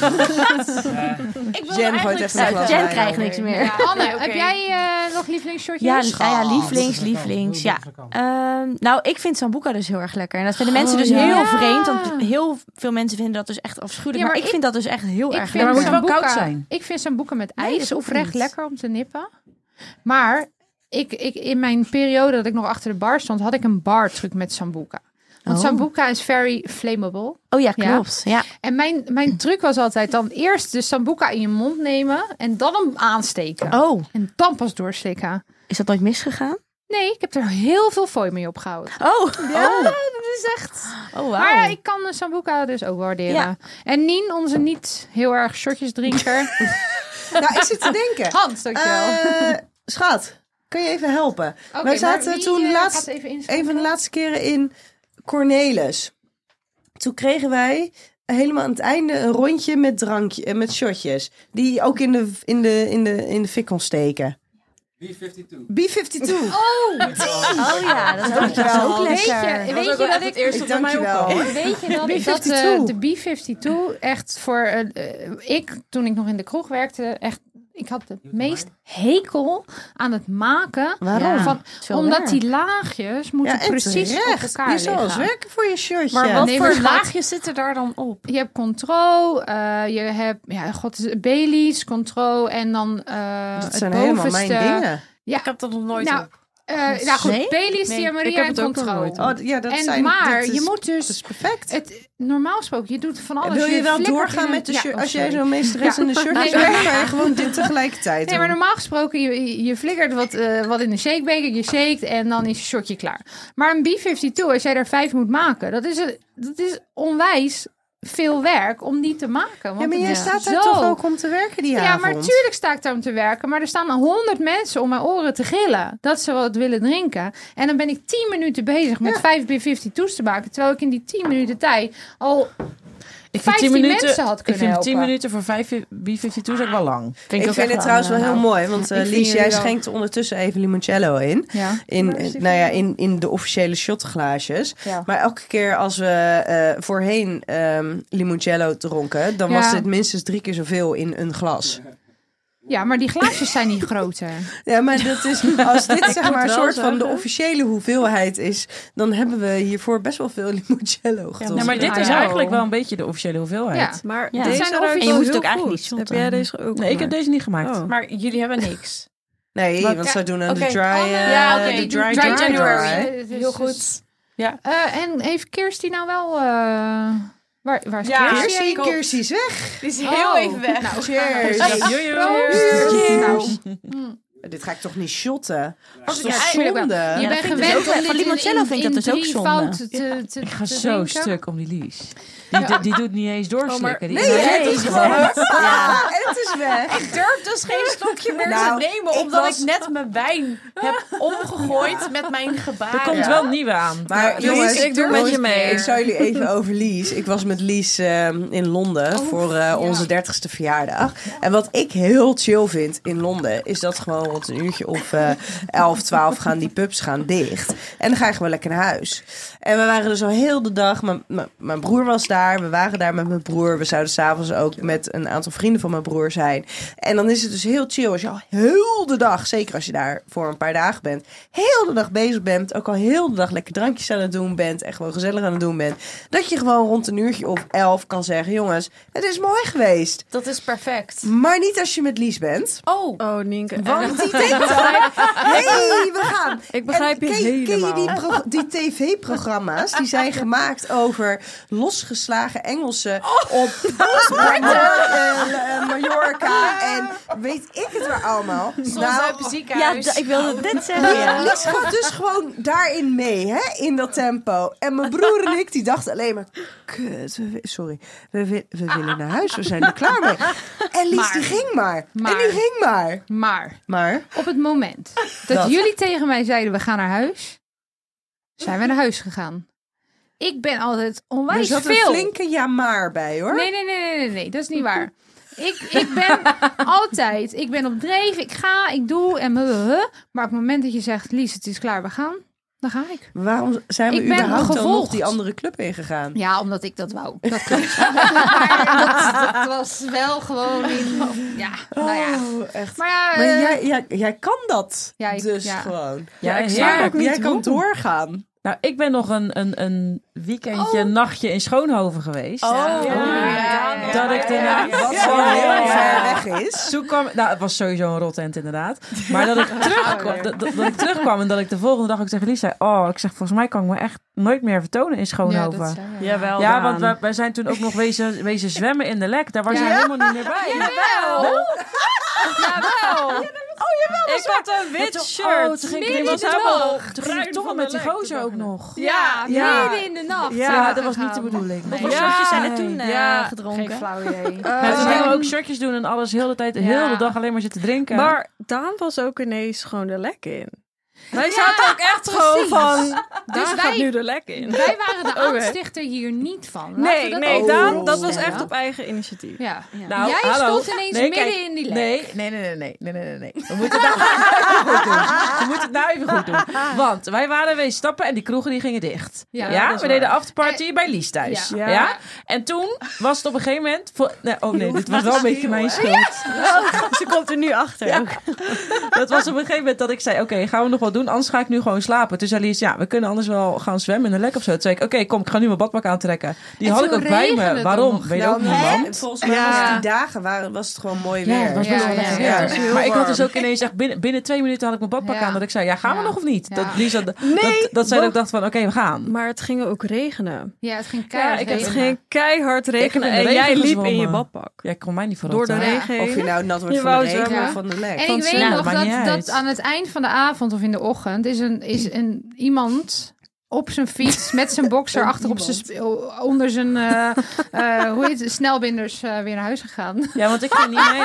Speaker 3: aan.
Speaker 7: Ik
Speaker 2: Jen
Speaker 7: wil
Speaker 2: gooit
Speaker 7: eigenlijk
Speaker 2: even een
Speaker 7: zeggen- Oh,
Speaker 2: glas
Speaker 8: Jen
Speaker 2: wijn
Speaker 8: krijgt
Speaker 2: over.
Speaker 8: niks meer.
Speaker 3: Anne,
Speaker 7: Nee, oké.
Speaker 3: heb jij eh, nog lievelingsshortjes?
Speaker 8: Ja, ah
Speaker 6: nou
Speaker 8: ja, ja, lievelings,
Speaker 5: Heel
Speaker 8: lievelings. Ja.
Speaker 5: makkelijk aan.
Speaker 8: Ehm, nou, ik vind Sambuca dus heel erg lekker. En dat
Speaker 7: Oh,
Speaker 8: vinden mensen dus
Speaker 6: ja.
Speaker 8: heel
Speaker 3: Ja.
Speaker 8: vreemd. Want heel veel mensen vinden dat dus echt afschuwelijk.
Speaker 3: Ja, maar
Speaker 8: maar, ik
Speaker 3: ik-
Speaker 8: vind dat dus echt heel
Speaker 3: Ik
Speaker 8: erg
Speaker 3: vind
Speaker 8: lekker.
Speaker 6: maar moet wel
Speaker 3: sambuca-
Speaker 6: koud zijn.
Speaker 3: Ik vind sambuca met
Speaker 8: Nee, dat
Speaker 3: ijs
Speaker 8: hoeft
Speaker 3: oprecht
Speaker 8: niet.
Speaker 3: lekker om te nippen. Maar ik, ik, in mijn periode dat ik nog achter de bar stond, had ik een bar truc met sambuca. Want
Speaker 8: Oh.
Speaker 3: sambuca is very flammable.
Speaker 8: Oh ja,
Speaker 3: Ja.
Speaker 8: klopt. Ja.
Speaker 3: En mijn, mijn truc was altijd dan eerst de sambuca in je mond nemen en dan hem aansteken.
Speaker 8: Oh,
Speaker 3: En dan pas doorslikken.
Speaker 8: is dat nooit misgegaan?
Speaker 3: Nee, ik heb er heel veel fooi mee opgehouden.
Speaker 8: Oh,
Speaker 3: Ja,
Speaker 8: oh,
Speaker 3: dat is echt...
Speaker 8: oh
Speaker 3: Maar ja,
Speaker 8: wauw.
Speaker 3: ik kan de sambuca dus ook waarderen.
Speaker 8: Ja.
Speaker 3: En Nien, onze niet heel erg shotjesdrinker.
Speaker 2: Nou, ik zit te denken.
Speaker 3: Hans, dankjewel.
Speaker 2: Eh, schat, kun je even helpen?
Speaker 3: Oké,
Speaker 2: Wij
Speaker 3: maar
Speaker 2: zaten
Speaker 3: wie,
Speaker 2: toen
Speaker 3: eh,
Speaker 2: laatst-
Speaker 3: gaat even inschrijven?
Speaker 2: Een van de laatste keren in Cornelis. Toen kregen wij helemaal aan het einde een rondje met drankje, eh, met shotjes. Die je ook in de, in de, in de, in de fik kon steken.
Speaker 5: B52.
Speaker 2: B52.
Speaker 8: Oh ja, dat is ook, dat is
Speaker 2: Dankjewel.
Speaker 8: ook
Speaker 3: Weet je,
Speaker 8: lekker.
Speaker 3: weet je dat ik...
Speaker 2: Ik dank je wel.
Speaker 3: Weet je dat,
Speaker 2: B-52?
Speaker 3: dat eh, de B-52 echt voor... eh, eh, ik, toen ik nog in de kroeg werkte, echt... Ik had de meest hekel aan het maken.
Speaker 8: Waarom?
Speaker 3: Van,
Speaker 8: Het is wel
Speaker 3: omdat
Speaker 8: werk.
Speaker 3: die laagjes moeten
Speaker 2: Ja, en
Speaker 3: precies op
Speaker 2: terecht.
Speaker 3: elkaar
Speaker 2: Je zal eens
Speaker 3: liggen.
Speaker 2: werken voor je shirtje.
Speaker 7: Maar wat
Speaker 3: Nee, maar
Speaker 7: voor
Speaker 3: schat-
Speaker 7: laagjes zitten daar dan op?
Speaker 3: Je hebt Contro, eh, je hebt ja, god, Baileys, Contro en dan eh
Speaker 2: dat
Speaker 3: het
Speaker 2: zijn
Speaker 3: bovenste.
Speaker 2: helemaal mijn dingen.
Speaker 7: Ik heb dat nog nooit
Speaker 3: Nou,
Speaker 7: op.
Speaker 3: eh, nou goed,
Speaker 8: Nee?
Speaker 3: Baileys, Tia
Speaker 4: ik heb
Speaker 3: Maria en
Speaker 4: het ook nog
Speaker 3: Contro.
Speaker 4: nooit.
Speaker 2: Oh, d- ja, dat
Speaker 3: en
Speaker 2: zijn,
Speaker 3: maar
Speaker 2: dat is,
Speaker 3: je moet
Speaker 2: dat is
Speaker 3: dus
Speaker 2: perfect.
Speaker 3: het normaal gesproken, je doet van alles.
Speaker 2: Wil je, wel
Speaker 3: flikkert in
Speaker 2: doorgaan
Speaker 3: een-
Speaker 2: met de
Speaker 3: Ja,
Speaker 2: shirt?
Speaker 3: oh,
Speaker 2: als jij
Speaker 3: sorry.
Speaker 2: zo'n meesteres
Speaker 3: Ja.
Speaker 2: in de shirt
Speaker 3: Nee,
Speaker 2: bent,
Speaker 3: maar-
Speaker 2: ga je gewoon dit tegelijkertijd
Speaker 3: Nee, maar
Speaker 2: doen.
Speaker 3: normaal gesproken, je, je flikkert wat, eh, wat in de shakebeker, je shakt en dan is je shotje klaar. Maar een B-52, als jij er vijf moet maken, dat is, een- dat is onwijs veel werk om die te maken. Want
Speaker 2: Ja, maar jij
Speaker 3: het is
Speaker 2: staat daar
Speaker 3: zo
Speaker 2: toch ook om te werken die
Speaker 3: Ja,
Speaker 2: avond?
Speaker 3: maar tuurlijk sta ik daar om te werken. Maar er staan honderd mensen om mijn oren te gillen. Dat ze wat willen drinken. En dan ben ik tien minuten bezig met vijf B50 toes te maken. Terwijl ik in die tien minuten tijd al
Speaker 6: Ik
Speaker 3: 15 mensen had kunnen
Speaker 6: Ik vind 10
Speaker 3: helpen.
Speaker 6: minuten voor 5 B52 is ook wel lang.
Speaker 2: Ik vind, het trouwens wel heel mooi, want eh,
Speaker 4: Ik vind
Speaker 2: Lies, jij
Speaker 4: jullie wel-
Speaker 2: schenkt ondertussen even limoncello in.
Speaker 3: Ja. dus
Speaker 2: In,
Speaker 4: Waar is die
Speaker 2: nou ja,
Speaker 4: van?
Speaker 2: in, in de officiële shotglaasjes.
Speaker 3: Ja.
Speaker 2: Maar elke keer als we eh, voorheen ehm, limoncello dronken, dan
Speaker 3: Ja.
Speaker 2: was het minstens drie keer zoveel in een glas.
Speaker 3: ja, maar die glaasjes zijn niet groter.
Speaker 2: Ja, maar dat is, als dit zeg maar een
Speaker 4: wel
Speaker 2: soort van de
Speaker 4: zeggen.
Speaker 2: officiële hoeveelheid is, dan hebben we hiervoor best wel veel limoncello gedronken.
Speaker 6: Nou, maar dit is
Speaker 3: Ah, Ja.
Speaker 6: eigenlijk wel een beetje de officiële hoeveelheid.
Speaker 4: Maar
Speaker 8: Ja.
Speaker 4: deze
Speaker 3: Het zijn
Speaker 4: ruikt
Speaker 3: officieel-
Speaker 4: wel
Speaker 3: En je
Speaker 8: moest het
Speaker 4: heel
Speaker 8: ook eigenlijk
Speaker 4: goed. Heb
Speaker 8: niet shotten.
Speaker 4: jij deze ook
Speaker 6: Nee, ik heb
Speaker 4: gemaakt?
Speaker 6: deze niet gemaakt.
Speaker 4: Oh.
Speaker 7: Maar jullie hebben niks.
Speaker 2: Nee,
Speaker 6: Wat-
Speaker 2: want ze doen aan
Speaker 7: Oké.
Speaker 2: de dry, eh,
Speaker 7: Ja, oké.
Speaker 2: de dry,
Speaker 7: Dry
Speaker 2: dry
Speaker 7: January.
Speaker 2: dry.
Speaker 3: Dus-
Speaker 7: Heel
Speaker 3: dus-
Speaker 7: goed.
Speaker 3: Eh, en heeft Kirsty nou wel... eh, waar, waar is
Speaker 7: Ja.
Speaker 3: Kirsty?
Speaker 2: Kirsie,
Speaker 7: kom.
Speaker 2: Kirsie is weg.
Speaker 7: Die is heel
Speaker 3: Oh.
Speaker 7: even weg.
Speaker 3: Nou,
Speaker 2: Cheers.
Speaker 6: Ja, joe, joe.
Speaker 3: Cheers.
Speaker 2: Dit ga ik toch niet shotten? Dat is
Speaker 3: Ja,
Speaker 2: toch
Speaker 3: ik vind het wel.
Speaker 2: zonde?
Speaker 3: Je
Speaker 8: Ja,
Speaker 3: bent
Speaker 8: dat vind ik dus
Speaker 3: gewend
Speaker 8: ook wel.
Speaker 3: om
Speaker 8: Van
Speaker 3: dit in-
Speaker 8: limoncello
Speaker 3: in-
Speaker 8: vind ik dat
Speaker 3: in
Speaker 8: dus ook
Speaker 3: drie
Speaker 8: zonde.
Speaker 3: fouten te, te,
Speaker 6: Ik ga
Speaker 3: te
Speaker 6: zo
Speaker 3: drinken.
Speaker 6: stuk om die Lies. Die, die, die doet niet eens doorslikken. Die-
Speaker 2: Nee, het is weg. Ja, het is weg.
Speaker 7: Ik durf dus geen stokje meer
Speaker 2: Nou,
Speaker 7: te nemen,
Speaker 2: ik
Speaker 7: omdat
Speaker 2: was-
Speaker 7: ik net mijn wijn heb omgegooid met mijn gebaren.
Speaker 6: Er komt wel een nieuwe aan.
Speaker 2: Maar jongens,
Speaker 4: ik doe met je mee.
Speaker 2: Ik zou jullie even over Lies. Ik was met Lies ehm, in Londen voor eh, onze 30ste verjaardag. En wat ik heel chill vind in Londen, is dat gewoon rond een uurtje of eh 11, 12 gaan die pubs gaan dicht. En dan ga je gewoon lekker naar huis. En we waren dus al heel de dag. Mijn- mijn- Mijn broer was daar. We waren daar met mijn broer. We zouden s'avonds ook met een aantal vrienden van mijn broer zijn. En dan is het dus heel chill als je al heel de dag, zeker als je daar voor een paar dagen bent, heel de dag bezig bent. Ook al heel de dag lekker drankjes aan het doen bent. En gewoon gezellig aan het doen bent. Dat je gewoon rond een uurtje of elf kan zeggen: jongens, het is mooi geweest.
Speaker 7: Dat is perfect.
Speaker 2: Maar niet als je met Lies bent.
Speaker 7: Oh,
Speaker 4: Oh, Nienke.
Speaker 2: Want die denkt dan, hey, we gaan.
Speaker 4: Ik begrijp je
Speaker 2: En ken,
Speaker 4: helemaal.
Speaker 2: Ken je die, pro- die tv-programma's? Die zijn gemaakt over losgeslagen Engelsen op Major- eh, eh, Mallorca en weet ik het waar allemaal.
Speaker 7: soms uit het
Speaker 8: Ja,
Speaker 7: ziekenhuis.
Speaker 8: d- ik wilde het net zeggen.
Speaker 2: Ja,
Speaker 8: Ja.
Speaker 2: Lies gaat dus gewoon daarin mee, hè, in dat tempo. En mijn broer en ik, die dachten alleen maar... Kut, we wi- sorry, we, wi- we willen naar huis, we zijn er klaar mee. En Lies, die ging maar. En
Speaker 3: Maar.
Speaker 2: die ging maar.
Speaker 3: Maar
Speaker 2: Maar...
Speaker 3: op het moment dat,
Speaker 2: Dat.
Speaker 3: jullie tegen mij zeiden we gaan naar huis, zijn we naar huis gegaan. Ik ben altijd
Speaker 2: Er
Speaker 3: onwijs
Speaker 2: zat een
Speaker 3: veel.
Speaker 2: flinke ja maar bij, hoor.
Speaker 3: Nee, nee, nee, nee, nee, nee, dat is niet waar. Ik, ik ben altijd, ik ben op dreef, ik ga, ik doe en blablabla. maar op het moment dat je zegt, Lies, het is klaar, we gaan, dan ga ik.
Speaker 2: Waarom zijn we
Speaker 3: Ik ben
Speaker 2: überhaupt dan nog
Speaker 3: gevolgd.
Speaker 2: die andere club ingegaan?
Speaker 3: Ja, omdat ik dat wou. Dat klopt. maar dat, dat was wel gewoon in, ja, nou ja.
Speaker 2: Oh, echt.
Speaker 3: Maar ja,
Speaker 2: Maar
Speaker 3: eh,
Speaker 2: jij, jij, jij kan dat
Speaker 3: Ja, ik-
Speaker 2: dus
Speaker 3: ja.
Speaker 2: gewoon.
Speaker 6: Ja, ik
Speaker 2: Ja,
Speaker 6: snap ook
Speaker 2: jij
Speaker 6: niet
Speaker 2: kan
Speaker 6: hoe.
Speaker 2: doorgaan.
Speaker 6: Nou, ik ben nog een, een, een weekendje, een nachtje in Schoonhoven geweest.
Speaker 7: Ja,
Speaker 3: eh,
Speaker 7: ja, ja,
Speaker 6: Dat ik
Speaker 7: ja, ja,
Speaker 6: daarna...
Speaker 7: ja.
Speaker 2: Wat
Speaker 6: Ja,
Speaker 2: zo
Speaker 6: ja,
Speaker 2: heel
Speaker 6: ja.
Speaker 2: ver weg is.
Speaker 6: Toen kwam, nou, het was sowieso een rotent inderdaad. Maar dat ik, terugkwam, dat, dat, dat ik terugkwam en dat ik de volgende dag ook tegen Lies zei... Oh, ik zeg, volgens mij kan ik me echt nooit meer vertonen in
Speaker 3: ja,
Speaker 6: Schoonhoven.
Speaker 3: dat
Speaker 6: Ja,
Speaker 3: zei je.
Speaker 4: Jawel, Daan.
Speaker 6: want wij, wij zijn toen ook nog wezen, wezen zwemmen in de lek. Daar was
Speaker 3: Ja.
Speaker 6: je helemaal niet meer bij.
Speaker 7: ik had een wit
Speaker 6: Oh, toen ging ik
Speaker 3: Midden in
Speaker 6: was
Speaker 3: de
Speaker 6: helemaal...
Speaker 3: nacht.
Speaker 6: Toen ging ik
Speaker 7: Bruin
Speaker 6: toch
Speaker 7: van
Speaker 6: met
Speaker 7: de
Speaker 6: die
Speaker 7: lek,
Speaker 6: gozer ook nog.
Speaker 7: Ja.
Speaker 6: Ja.
Speaker 3: Midden in de nacht.
Speaker 6: Ja,
Speaker 3: zijn we
Speaker 6: dat was niet de
Speaker 3: gegaan.
Speaker 6: bedoeling.
Speaker 7: Nee.
Speaker 8: Hoeveel shotjes zijn er toen eh,
Speaker 4: Ja.
Speaker 8: gedronken?
Speaker 3: Geen flauw idee.
Speaker 6: Ja, toen gingen we ook shirtjes doen en alles, heel de tijd, heel de
Speaker 3: Eh, Ja.
Speaker 6: dag alleen maar zitten drinken.
Speaker 4: Maar Daan was ook ineens gewoon de lek in. Wij
Speaker 3: Ja, Dus
Speaker 4: zaten ook echt gewoon van... Daan
Speaker 3: wij-
Speaker 4: gaat nu de lek in.
Speaker 3: Wij waren de
Speaker 4: Oké.
Speaker 3: aanstichter hier niet van. Laten we
Speaker 4: Nee,
Speaker 3: dat
Speaker 4: nee,
Speaker 3: ook
Speaker 4: Daan,
Speaker 3: voorop
Speaker 4: dat was
Speaker 3: stellen.
Speaker 4: echt op eigen initiatief.
Speaker 3: Ja.
Speaker 6: Nou,
Speaker 3: Jij
Speaker 6: hallo.
Speaker 3: stond ineens
Speaker 6: Nee,
Speaker 3: midden
Speaker 6: kijk,
Speaker 3: in die lek.
Speaker 6: Nee, nee, nee, nee, nee, nee, nee, nee, nee. We moeten het nou even goed doen. We moeten het nou even goed doen. Want wij waren wees stappen en die kroegen die gingen dicht. Ja,
Speaker 3: Ja,
Speaker 6: we deden afterparty
Speaker 3: Eh,
Speaker 6: bij Lies thuis. Ja.
Speaker 4: Ja.
Speaker 6: En toen was het op een gegeven moment... vo- nee, oh nee, dit was wel een beetje mijn schuld.
Speaker 4: Ze komt er nu achter.
Speaker 6: Ja.
Speaker 4: ook.
Speaker 6: Dat was op een gegeven moment dat ik zei... Oké, gaan we nog wel doen? Anders ga ik nu gewoon slapen. Toen zei Lies, ja, we kunnen anders wel gaan zwemmen in de lek of zo. Toen zei ik, oké, kom, ik ga nu mijn badpak aantrekken. Die
Speaker 3: En
Speaker 6: had ik
Speaker 3: toen
Speaker 6: ook bij
Speaker 3: regende
Speaker 6: me.
Speaker 3: het
Speaker 6: Waarom?
Speaker 3: ook nog.
Speaker 6: Weet
Speaker 2: Nou,
Speaker 6: ook niemand.
Speaker 2: hè, volgens mij was die dagen waren, was het gewoon mooi
Speaker 6: Ja,
Speaker 2: weer.
Speaker 6: het was best
Speaker 3: Ja,
Speaker 6: wel
Speaker 3: ja,
Speaker 6: lekker
Speaker 3: ja.
Speaker 6: weer.
Speaker 3: Het is
Speaker 6: Maar ik had dus ook ineens echt binnen, binnen twee minuten had ik mijn badpak
Speaker 3: Ja.
Speaker 6: aan. Dat ik zei, ja, gaan we
Speaker 3: Ja.
Speaker 6: nog of niet?
Speaker 3: Ja.
Speaker 6: Dat, Lisa, dat, dat, dat zij ook dacht van, oké, we gaan.
Speaker 4: Maar het ging ook regenen.
Speaker 3: Ja, het ging
Speaker 6: Ja,
Speaker 3: keihard
Speaker 6: ik heb
Speaker 4: Het
Speaker 3: regenen.
Speaker 4: ging keihard regenen
Speaker 6: heb in de
Speaker 4: en jij
Speaker 6: regen
Speaker 4: liep in je
Speaker 6: gezwommen.
Speaker 4: badpak.
Speaker 6: Ja, ik kon mij niet
Speaker 4: Door de
Speaker 6: verrotten.
Speaker 3: Ja.
Speaker 4: regen
Speaker 2: Of je
Speaker 4: heen.
Speaker 2: nou nat wordt
Speaker 4: Je
Speaker 2: van de
Speaker 4: wou
Speaker 2: regen
Speaker 3: zwemmen.
Speaker 2: of van de lek.
Speaker 3: En ik weet
Speaker 6: Nou,
Speaker 3: nog
Speaker 6: maakt
Speaker 3: dat,
Speaker 6: niet uit.
Speaker 3: dat aan het eind van de avond of in de ochtend is, een, is een, iemand op zijn fiets met zijn boxer achter op zijn sp- onder zijn eh, eh, hoe heet het, snelbinders eh, weer naar huis gegaan.
Speaker 6: Ja, want ik ging niet mee.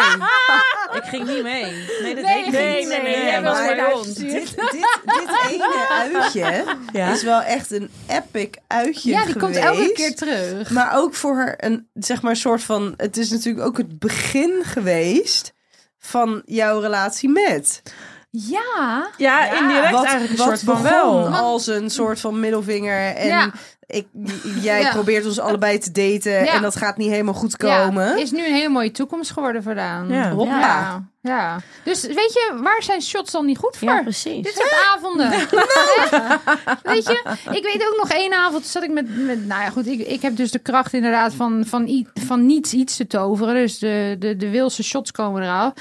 Speaker 6: ik ging niet mee. Nee, dat deed ik niet.
Speaker 3: jij was
Speaker 2: maar
Speaker 3: bij
Speaker 2: dit-
Speaker 3: ons.
Speaker 2: Dit, dit, dit ene uitje
Speaker 6: Ja.
Speaker 2: is wel echt een epic uitje
Speaker 3: Ja, die komt elke
Speaker 2: geweest.
Speaker 3: keer terug.
Speaker 2: Maar ook voor een zeg maar soort van. Het is natuurlijk ook het begin geweest van jouw relatie met.
Speaker 3: Ja.
Speaker 6: Ja, indirect
Speaker 2: Wat-
Speaker 6: eigenlijk een
Speaker 2: wat
Speaker 6: soort van
Speaker 2: begon
Speaker 6: wel.
Speaker 2: Als een soort van middelvinger. En
Speaker 3: Ja.
Speaker 2: ik, jij
Speaker 3: Ja.
Speaker 2: probeert ons allebei te daten.
Speaker 3: Ja.
Speaker 2: En dat gaat niet helemaal goed
Speaker 3: Ja,
Speaker 2: komen.
Speaker 3: is nu een hele mooie toekomst geworden vandaan.
Speaker 6: Ja.
Speaker 2: Hoppa.
Speaker 3: Ja. ja. Dus weet je, waar zijn shots dan niet goed voor?
Speaker 8: Ja, precies.
Speaker 3: Dit soort avonden. Weet je, ik weet ook nog één avond zat ik met, met nou ja goed, ik, ik heb dus de kracht inderdaad van, van, i- van niets iets te toveren. Dus de, de, de wilse shots komen eraf.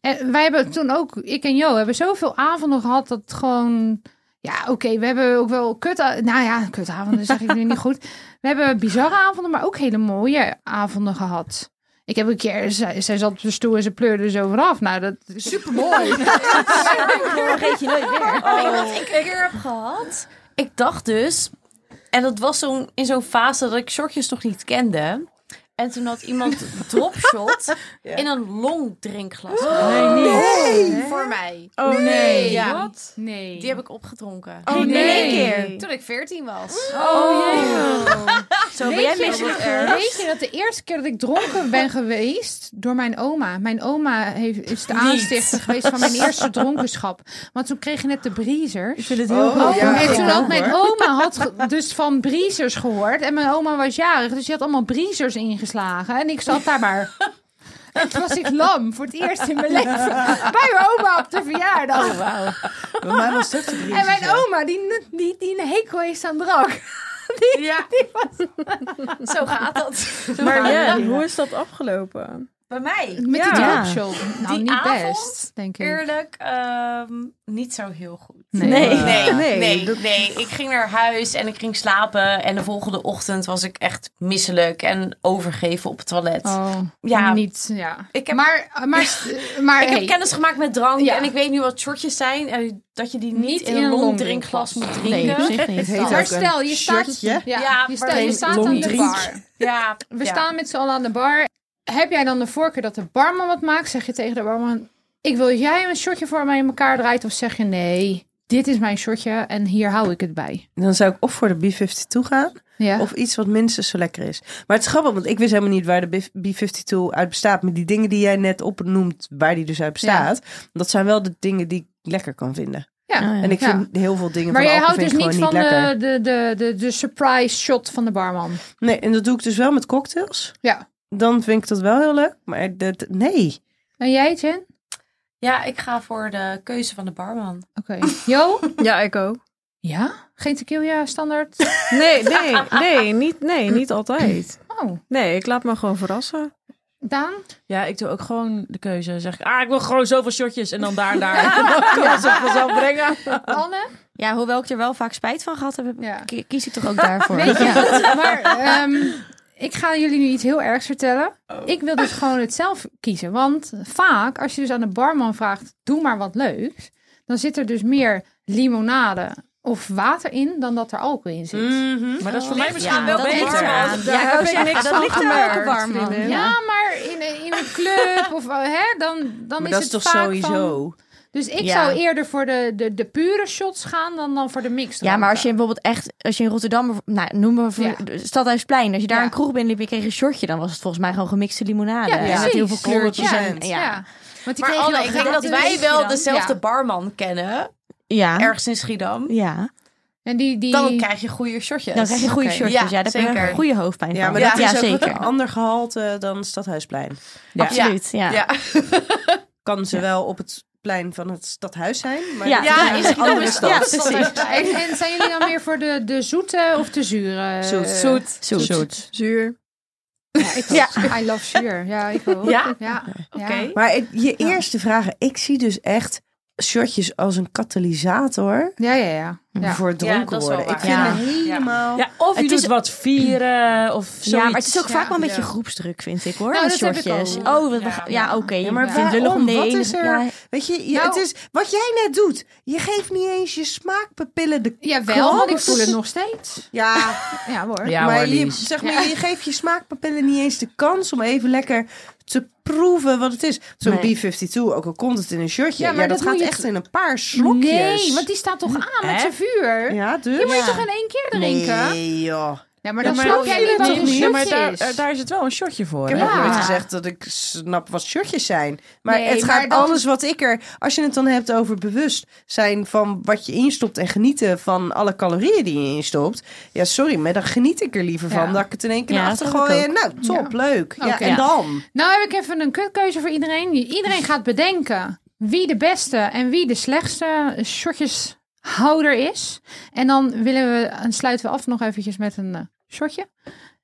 Speaker 3: En wij hebben toen ook, ik en Jo, hebben zoveel avonden gehad dat het gewoon... Ja, oké, we hebben ook wel kut... Nou ja, kutavonden zeg ik nu niet goed. We hebben bizarre avonden, maar ook hele mooie avonden gehad. Ik heb een keer, zij, zij zat op de stoel en ze pleurde zo vanaf. Nou, dat is super mooi.
Speaker 8: vergeet je nooit meer.
Speaker 7: Weet je wat ik een keer heb gehad? Ik dacht dus, en dat was zo'n in zo'n fase dat ik shortjes nog niet kende. En toen had iemand dropshot in een longdrinkglas gedaan.
Speaker 6: Nee, niet.
Speaker 7: voor mij.
Speaker 6: Oh nee.
Speaker 7: Ja.
Speaker 3: Nee.
Speaker 7: Die heb ik opgedronken.
Speaker 3: Oh nee.
Speaker 7: Toen ik 14 was.
Speaker 8: Zo ben
Speaker 3: Weet,
Speaker 8: jij
Speaker 3: je,
Speaker 8: misselijk
Speaker 3: weet je dat de eerste keer dat ik dronken ben geweest door mijn oma. Mijn oma heeft, is de aanstichter geweest van mijn eerste dronkenschap. Want toen kreeg je net de briezers.
Speaker 6: Ik vind het heel
Speaker 2: Oh,
Speaker 6: goed.
Speaker 2: ja.
Speaker 3: en toen
Speaker 2: ja,
Speaker 3: had mijn oma had ge- dus van briezers gehoord. En mijn oma was jarig, dus die had allemaal briezers ingeslagen. En ik zat daar maar. En toen was ik lam voor het eerst in mijn leven. Bij mijn oma op de verjaardag.
Speaker 2: Bij mij was het ook de
Speaker 3: En mijn
Speaker 2: crisis, hè.
Speaker 3: oma, die, die, die een hekel heeft aan drank. Die, die was
Speaker 7: Zo gaat dat.
Speaker 4: Maar Jen, hoe is dat afgelopen?
Speaker 7: Bij mij.
Speaker 3: Met die
Speaker 8: Ja.
Speaker 3: dropshop. Nou,
Speaker 7: Die
Speaker 3: niet
Speaker 7: avond,
Speaker 3: best, denk ik.
Speaker 7: Eerlijk, ehm, niet zo heel goed.
Speaker 3: Nee.
Speaker 7: Nee, nee,
Speaker 4: Nee,
Speaker 7: nee, Ik ging naar huis en ik ging slapen. En de volgende ochtend was ik echt misselijk en overgeven op het toilet.
Speaker 3: Oh,
Speaker 7: Ja.
Speaker 3: niet, ja.
Speaker 7: Ik heb-
Speaker 3: maar, maar, eh, maar
Speaker 7: Ik
Speaker 3: hey,
Speaker 7: heb kennis gemaakt met drank
Speaker 3: Ja.
Speaker 7: en ik weet nu wat shortjes zijn. En dat je die niet,
Speaker 3: Niet
Speaker 7: in
Speaker 3: in
Speaker 7: een
Speaker 3: een
Speaker 7: longdrinkglas moet
Speaker 3: longdrinkglas.
Speaker 7: drinken.
Speaker 8: niet.
Speaker 2: heet
Speaker 3: maar
Speaker 2: ook een
Speaker 3: stel, je staat, ja,
Speaker 2: shirtje.
Speaker 7: Ja,
Speaker 3: je
Speaker 7: maar
Speaker 3: staat, je
Speaker 7: geen
Speaker 3: staat aan de
Speaker 2: longdrink.
Speaker 3: bar.
Speaker 7: Ja,
Speaker 3: We
Speaker 7: ja.
Speaker 3: staan met z'n allen aan de bar. Heb jij dan de voorkeur dat de barman wat maakt? Zeg je tegen de barman, ik wil dat jij een shotje voor mij in elkaar draait. Of zeg je, nee, dit is mijn shotje en hier hou ik het bij.
Speaker 2: Dan zou ik of voor de B52 gaan.
Speaker 3: Ja.
Speaker 2: Of iets wat minstens zo lekker is. Maar het is grappig, want ik wist helemaal niet waar de B52 uit bestaat. Maar die dingen die jij net opnoemt, waar die dus uit bestaat. Dat zijn wel de dingen die ik lekker kan vinden.
Speaker 7: Oh,
Speaker 3: ja.
Speaker 2: En ik
Speaker 3: Ja.
Speaker 2: vind heel veel dingen
Speaker 3: Maar
Speaker 2: van
Speaker 3: jij
Speaker 2: alcohol
Speaker 3: houdt dus
Speaker 2: vind ik
Speaker 3: niet
Speaker 2: gewoon
Speaker 3: van
Speaker 2: niet
Speaker 3: de,
Speaker 2: lekker.
Speaker 3: de, de, de, de surprise shot van de barman.
Speaker 2: Nee, en dat doe ik dus wel met cocktails.
Speaker 3: Ja.
Speaker 2: Dan vind ik dat wel heel leuk. Maar dat, nee.
Speaker 3: En jij, Jen?
Speaker 7: ja, ik ga voor de keuze van de barman.
Speaker 3: Oké. Jo?
Speaker 4: Ja, ik ook.
Speaker 3: Ja? Geen tequila standaard?
Speaker 4: Nee, nee, nee, niet, nee, niet altijd.
Speaker 3: Oh,
Speaker 4: Nee, ik laat me gewoon verrassen.
Speaker 3: Daan?
Speaker 6: Ja, ik doe ook gewoon de keuze. Dan Zeg ik, ah, ik wil gewoon zoveel shotjes en dan daar en daar. Dan kan ze het vanzelf brengen.
Speaker 3: Anne?
Speaker 8: Ja, hoewel ik er wel vaak spijt van gehad heb, heb ik-
Speaker 3: Ja.
Speaker 8: ki- kies ik toch ook daarvoor.
Speaker 3: Weet je
Speaker 8: Ja.
Speaker 3: wat? Maar ehm, ik ga jullie nu iets heel ergs vertellen. Ik wil dus gewoon het zelf kiezen. Want vaak, als je dus aan de barman vraagt, doe maar wat leuks. Dan zit er dus meer limonade of water in dan dat er alcohol in zit.
Speaker 6: Maar dat is voor mij misschien
Speaker 8: Ja,
Speaker 6: wel
Speaker 8: dat ligt
Speaker 6: beter.
Speaker 8: eraan.
Speaker 4: Daar
Speaker 8: Ja, ik
Speaker 4: heb
Speaker 8: wou
Speaker 4: ik
Speaker 8: zeggen,
Speaker 4: niks
Speaker 8: dat
Speaker 4: van
Speaker 8: ligt er ook een
Speaker 4: gemerkt,
Speaker 8: barman.
Speaker 4: vriendin.
Speaker 8: Ja.
Speaker 3: Ja, maar in, een- in een club of eh, hè, dan, dan
Speaker 2: Maar
Speaker 3: is
Speaker 2: dat
Speaker 3: het
Speaker 2: is toch
Speaker 3: vaak
Speaker 2: sowieso.
Speaker 3: van- Dus ik
Speaker 8: Ja.
Speaker 3: zou eerder voor de, de, de pure shots gaan dan, dan voor de mix.
Speaker 8: Ja, maar als je bijvoorbeeld echt, als je in Rotterdam, bijvo- nou, noem maar voor-
Speaker 3: Ja.
Speaker 8: de Stadhuisplein, als je daar
Speaker 3: Ja.
Speaker 8: een kroeg binnenliep en je kreeg een shortje, dan was het volgens mij gewoon gemixte limonade.
Speaker 3: Ja,
Speaker 8: met heel veel
Speaker 3: precies.
Speaker 8: kleurtjes.
Speaker 3: Ja,
Speaker 8: en, ja. Ja.
Speaker 3: Want die kreeg
Speaker 7: Maar
Speaker 3: je
Speaker 7: Anne,
Speaker 3: wel
Speaker 7: ik denk dat
Speaker 3: gratis.
Speaker 7: wij wel dezelfde
Speaker 3: Ja.
Speaker 7: barman kennen.
Speaker 8: Ja.
Speaker 7: Ergens in Schiedam.
Speaker 3: En die, die...
Speaker 7: Dan krijg je goede shortjes.
Speaker 8: dan krijg je goede
Speaker 3: Oké.
Speaker 8: shortjes.
Speaker 7: Ja,
Speaker 8: Ja, daar heb je
Speaker 7: zeker.
Speaker 8: een goede hoofdpijn
Speaker 2: Ja,
Speaker 8: van.
Speaker 2: maar
Speaker 7: Ja.
Speaker 2: dat is ook wat een
Speaker 8: zeker.
Speaker 2: ander gehalte dan Stadhuisplein.
Speaker 8: Absoluut, ja.
Speaker 7: Ja.
Speaker 2: Kan ze wel op het plein van het Stadhuis zijn. Maar
Speaker 8: Ja.
Speaker 2: dat
Speaker 7: Ja,
Speaker 2: een
Speaker 7: in Schiedam
Speaker 2: andere
Speaker 7: is
Speaker 2: stad.
Speaker 8: Ja, precies.
Speaker 3: En, en zijn jullie dan meer voor de, de zoete of de zure?
Speaker 2: Zoet.
Speaker 7: Zoet.
Speaker 8: Zoet.
Speaker 4: Zuur.
Speaker 3: Ja, ik ja. I love zuur. Ja, ik ook.
Speaker 7: Ja?
Speaker 3: Ja. ja.
Speaker 7: Oké.
Speaker 2: Maar het- je eerste vragen, ik zie dus echt shotjes als een katalysator
Speaker 3: Ja, ja, ja. ja.
Speaker 2: voor het
Speaker 7: Ja,
Speaker 2: dronken
Speaker 7: dat is wel
Speaker 2: worden. Ik
Speaker 7: waar.
Speaker 2: vind
Speaker 3: Ja.
Speaker 2: het helemaal...
Speaker 6: Ja, of je
Speaker 8: Het
Speaker 6: doet
Speaker 8: is-
Speaker 6: wat vieren of zoiets.
Speaker 8: Ja, maar het is ook
Speaker 3: Ja,
Speaker 8: vaak wel een beetje
Speaker 2: ja.
Speaker 8: groepsdruk, vind ik hoor.
Speaker 3: Nou,
Speaker 8: met
Speaker 3: dat heb ik
Speaker 8: shortjes.
Speaker 3: ook.
Speaker 8: Oh, we- we-
Speaker 3: Ja.
Speaker 8: ja, oké.
Speaker 3: Ja,
Speaker 8: maar
Speaker 3: maar
Speaker 8: ik vind het lullig
Speaker 2: waarom?
Speaker 8: om de
Speaker 2: Wat
Speaker 8: ene-
Speaker 2: is er?
Speaker 8: Ja,
Speaker 2: Weet je, je
Speaker 3: Nou-
Speaker 2: het is wat jij net doet. Je geeft niet eens je smaakpapillen de...
Speaker 3: Jawel, want ik
Speaker 2: Klopt.
Speaker 3: voel het nog steeds.
Speaker 2: Ja,
Speaker 3: Ja hoor.
Speaker 6: Ja,
Speaker 2: maar
Speaker 6: hoor,
Speaker 2: je,
Speaker 6: Lies.
Speaker 2: zeg maar, je geeft je smaakpapillen niet eens de kans om even lekker te proeven wat het is. Zo'n
Speaker 8: Nee.
Speaker 2: B52, ook al komt het in een shirtje.
Speaker 3: Ja,
Speaker 2: Ja,
Speaker 3: maar
Speaker 2: dat,
Speaker 3: dat moet
Speaker 2: gaat
Speaker 3: je
Speaker 2: echt
Speaker 3: t-
Speaker 2: in een paar slokjes.
Speaker 3: Nee, want die staat toch aan met
Speaker 6: Hè?
Speaker 3: zijn vuur?
Speaker 2: Ja, dus...
Speaker 3: Die moet je toch in één keer drinken?
Speaker 2: Nee, joh.
Speaker 3: Ja, maar
Speaker 6: Ja,
Speaker 3: dat snap jij niet wat
Speaker 6: dat
Speaker 3: een
Speaker 6: Ja, maar
Speaker 3: shotje
Speaker 6: daar,
Speaker 3: is.
Speaker 6: eh, daar is het wel een shotje voor.
Speaker 2: Ik heb
Speaker 6: hè?
Speaker 2: ook
Speaker 3: Ja.
Speaker 2: nooit gezegd dat ik snap wat shirtjes zijn. Maar
Speaker 3: Nee,
Speaker 2: het
Speaker 3: maar
Speaker 2: gaat
Speaker 3: dat-
Speaker 2: alles wat ik er... Als je het dan hebt over bewust zijn van wat je instopt... en genieten van alle calorieën die je instopt... Ja, sorry, maar dan geniet ik er liever
Speaker 3: Ja.
Speaker 2: van... dat ik het in één keer
Speaker 8: Ja,
Speaker 2: naar
Speaker 8: dat
Speaker 2: achter
Speaker 8: heb
Speaker 2: gooi.
Speaker 8: ik
Speaker 2: en Nou, top, leuk. Ja,
Speaker 3: Oké.
Speaker 2: en dan?
Speaker 3: Nou heb ik even een kutkeuze voor iedereen. Iedereen gaat bedenken wie de beste en wie de slechtste shotjeshouder is. En dan willen we, en sluiten we af nog eventjes met een eh, shotje.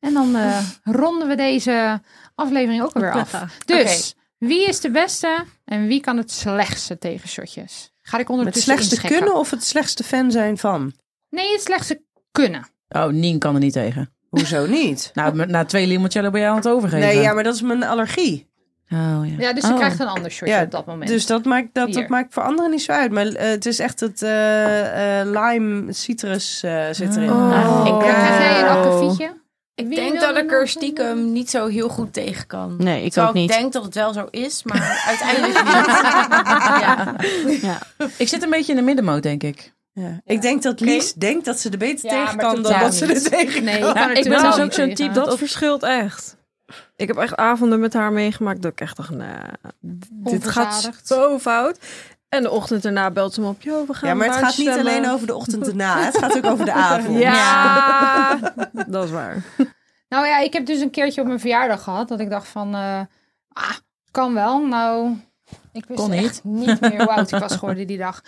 Speaker 3: En dan eh, ronden we deze aflevering ook alweer af. Dus wie is de beste en wie kan het slechtste tegen shotjes? Ga ik
Speaker 2: Het
Speaker 3: ondertussen
Speaker 2: slechtste
Speaker 3: inscheppen.
Speaker 2: kunnen of het slechtste fan zijn van?
Speaker 3: Nee, het slechtste kunnen.
Speaker 6: Oh, Nien kan er niet tegen.
Speaker 2: Hoezo niet?
Speaker 6: Nou, met- na twee limoncello ben jij aan het overgeven.
Speaker 2: Nee, ja, maar dat is mijn allergie.
Speaker 6: Oh, ja.
Speaker 3: Ja, dus je
Speaker 6: Oh.
Speaker 3: krijgt een ander shotje
Speaker 2: Ja,
Speaker 3: op dat moment.
Speaker 2: Dus dat maakt, dat, dat
Speaker 3: Hier.
Speaker 2: maakt voor anderen niet zo uit. Maar eh, het is echt het eh, eh, lime citrus eh, zit erin.
Speaker 4: Oh.
Speaker 7: Ik
Speaker 3: Ja, krijg jij een
Speaker 7: eh,
Speaker 3: akkefietje?
Speaker 7: Ik
Speaker 3: Wie
Speaker 7: denk
Speaker 3: wil
Speaker 7: dat
Speaker 3: er
Speaker 7: ik er
Speaker 3: nog-
Speaker 7: stiekem niet zo heel goed tegen kan.
Speaker 8: Nee, ik
Speaker 7: Terwijl
Speaker 8: ook niet.
Speaker 7: Ik denk dat het wel zo is, maar uiteindelijk niet. ja.
Speaker 6: Ik zit een beetje in de middenmoot, denk ik.
Speaker 2: Ja. Ik denk dat Lies denkt dat ze er beter
Speaker 3: Ja,
Speaker 2: tegen
Speaker 3: maar
Speaker 2: kan dan
Speaker 3: totaal
Speaker 2: dat ze er
Speaker 3: niet.
Speaker 2: tegen
Speaker 3: Nee,
Speaker 2: kan.
Speaker 3: je kan er
Speaker 6: ik ben
Speaker 3: totaal
Speaker 6: dus
Speaker 3: niet
Speaker 6: ook zo'n
Speaker 3: tegen.
Speaker 6: type
Speaker 4: Dat
Speaker 6: Of-
Speaker 4: verschilt echt. Ik heb echt avonden met haar meegemaakt dat ik echt dacht, nou, dit gaat
Speaker 3: Onverzadigd.
Speaker 4: zo fout. En de ochtend daarna belt ze me op, joh, we gaan
Speaker 2: Ja, maar het gaat niet
Speaker 4: buitenstemmen."
Speaker 2: alleen over de ochtend erna. Het gaat ook over de avond.
Speaker 4: Ja, dat is waar.
Speaker 3: Nou ja, ik heb dus een keertje op mijn verjaardag gehad dat ik dacht van, eh, ah, kan wel. Nou, ik wist
Speaker 6: Kon niet.
Speaker 3: echt niet meer hoe oud ik was geworden die dag.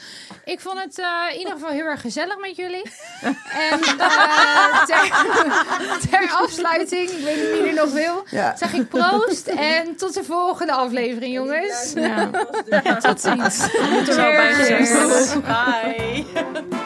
Speaker 3: Ik vond het eh, in ieder geval heel erg gezellig met jullie. En eh, ter, ter afsluiting, ik weet niet wie er nog wil,
Speaker 2: Ja.
Speaker 3: zeg ik proost en tot de volgende aflevering, jongens.
Speaker 4: Ja.
Speaker 3: Tot ziens.
Speaker 4: Moet er wel bij gezegd worden.
Speaker 7: Bye.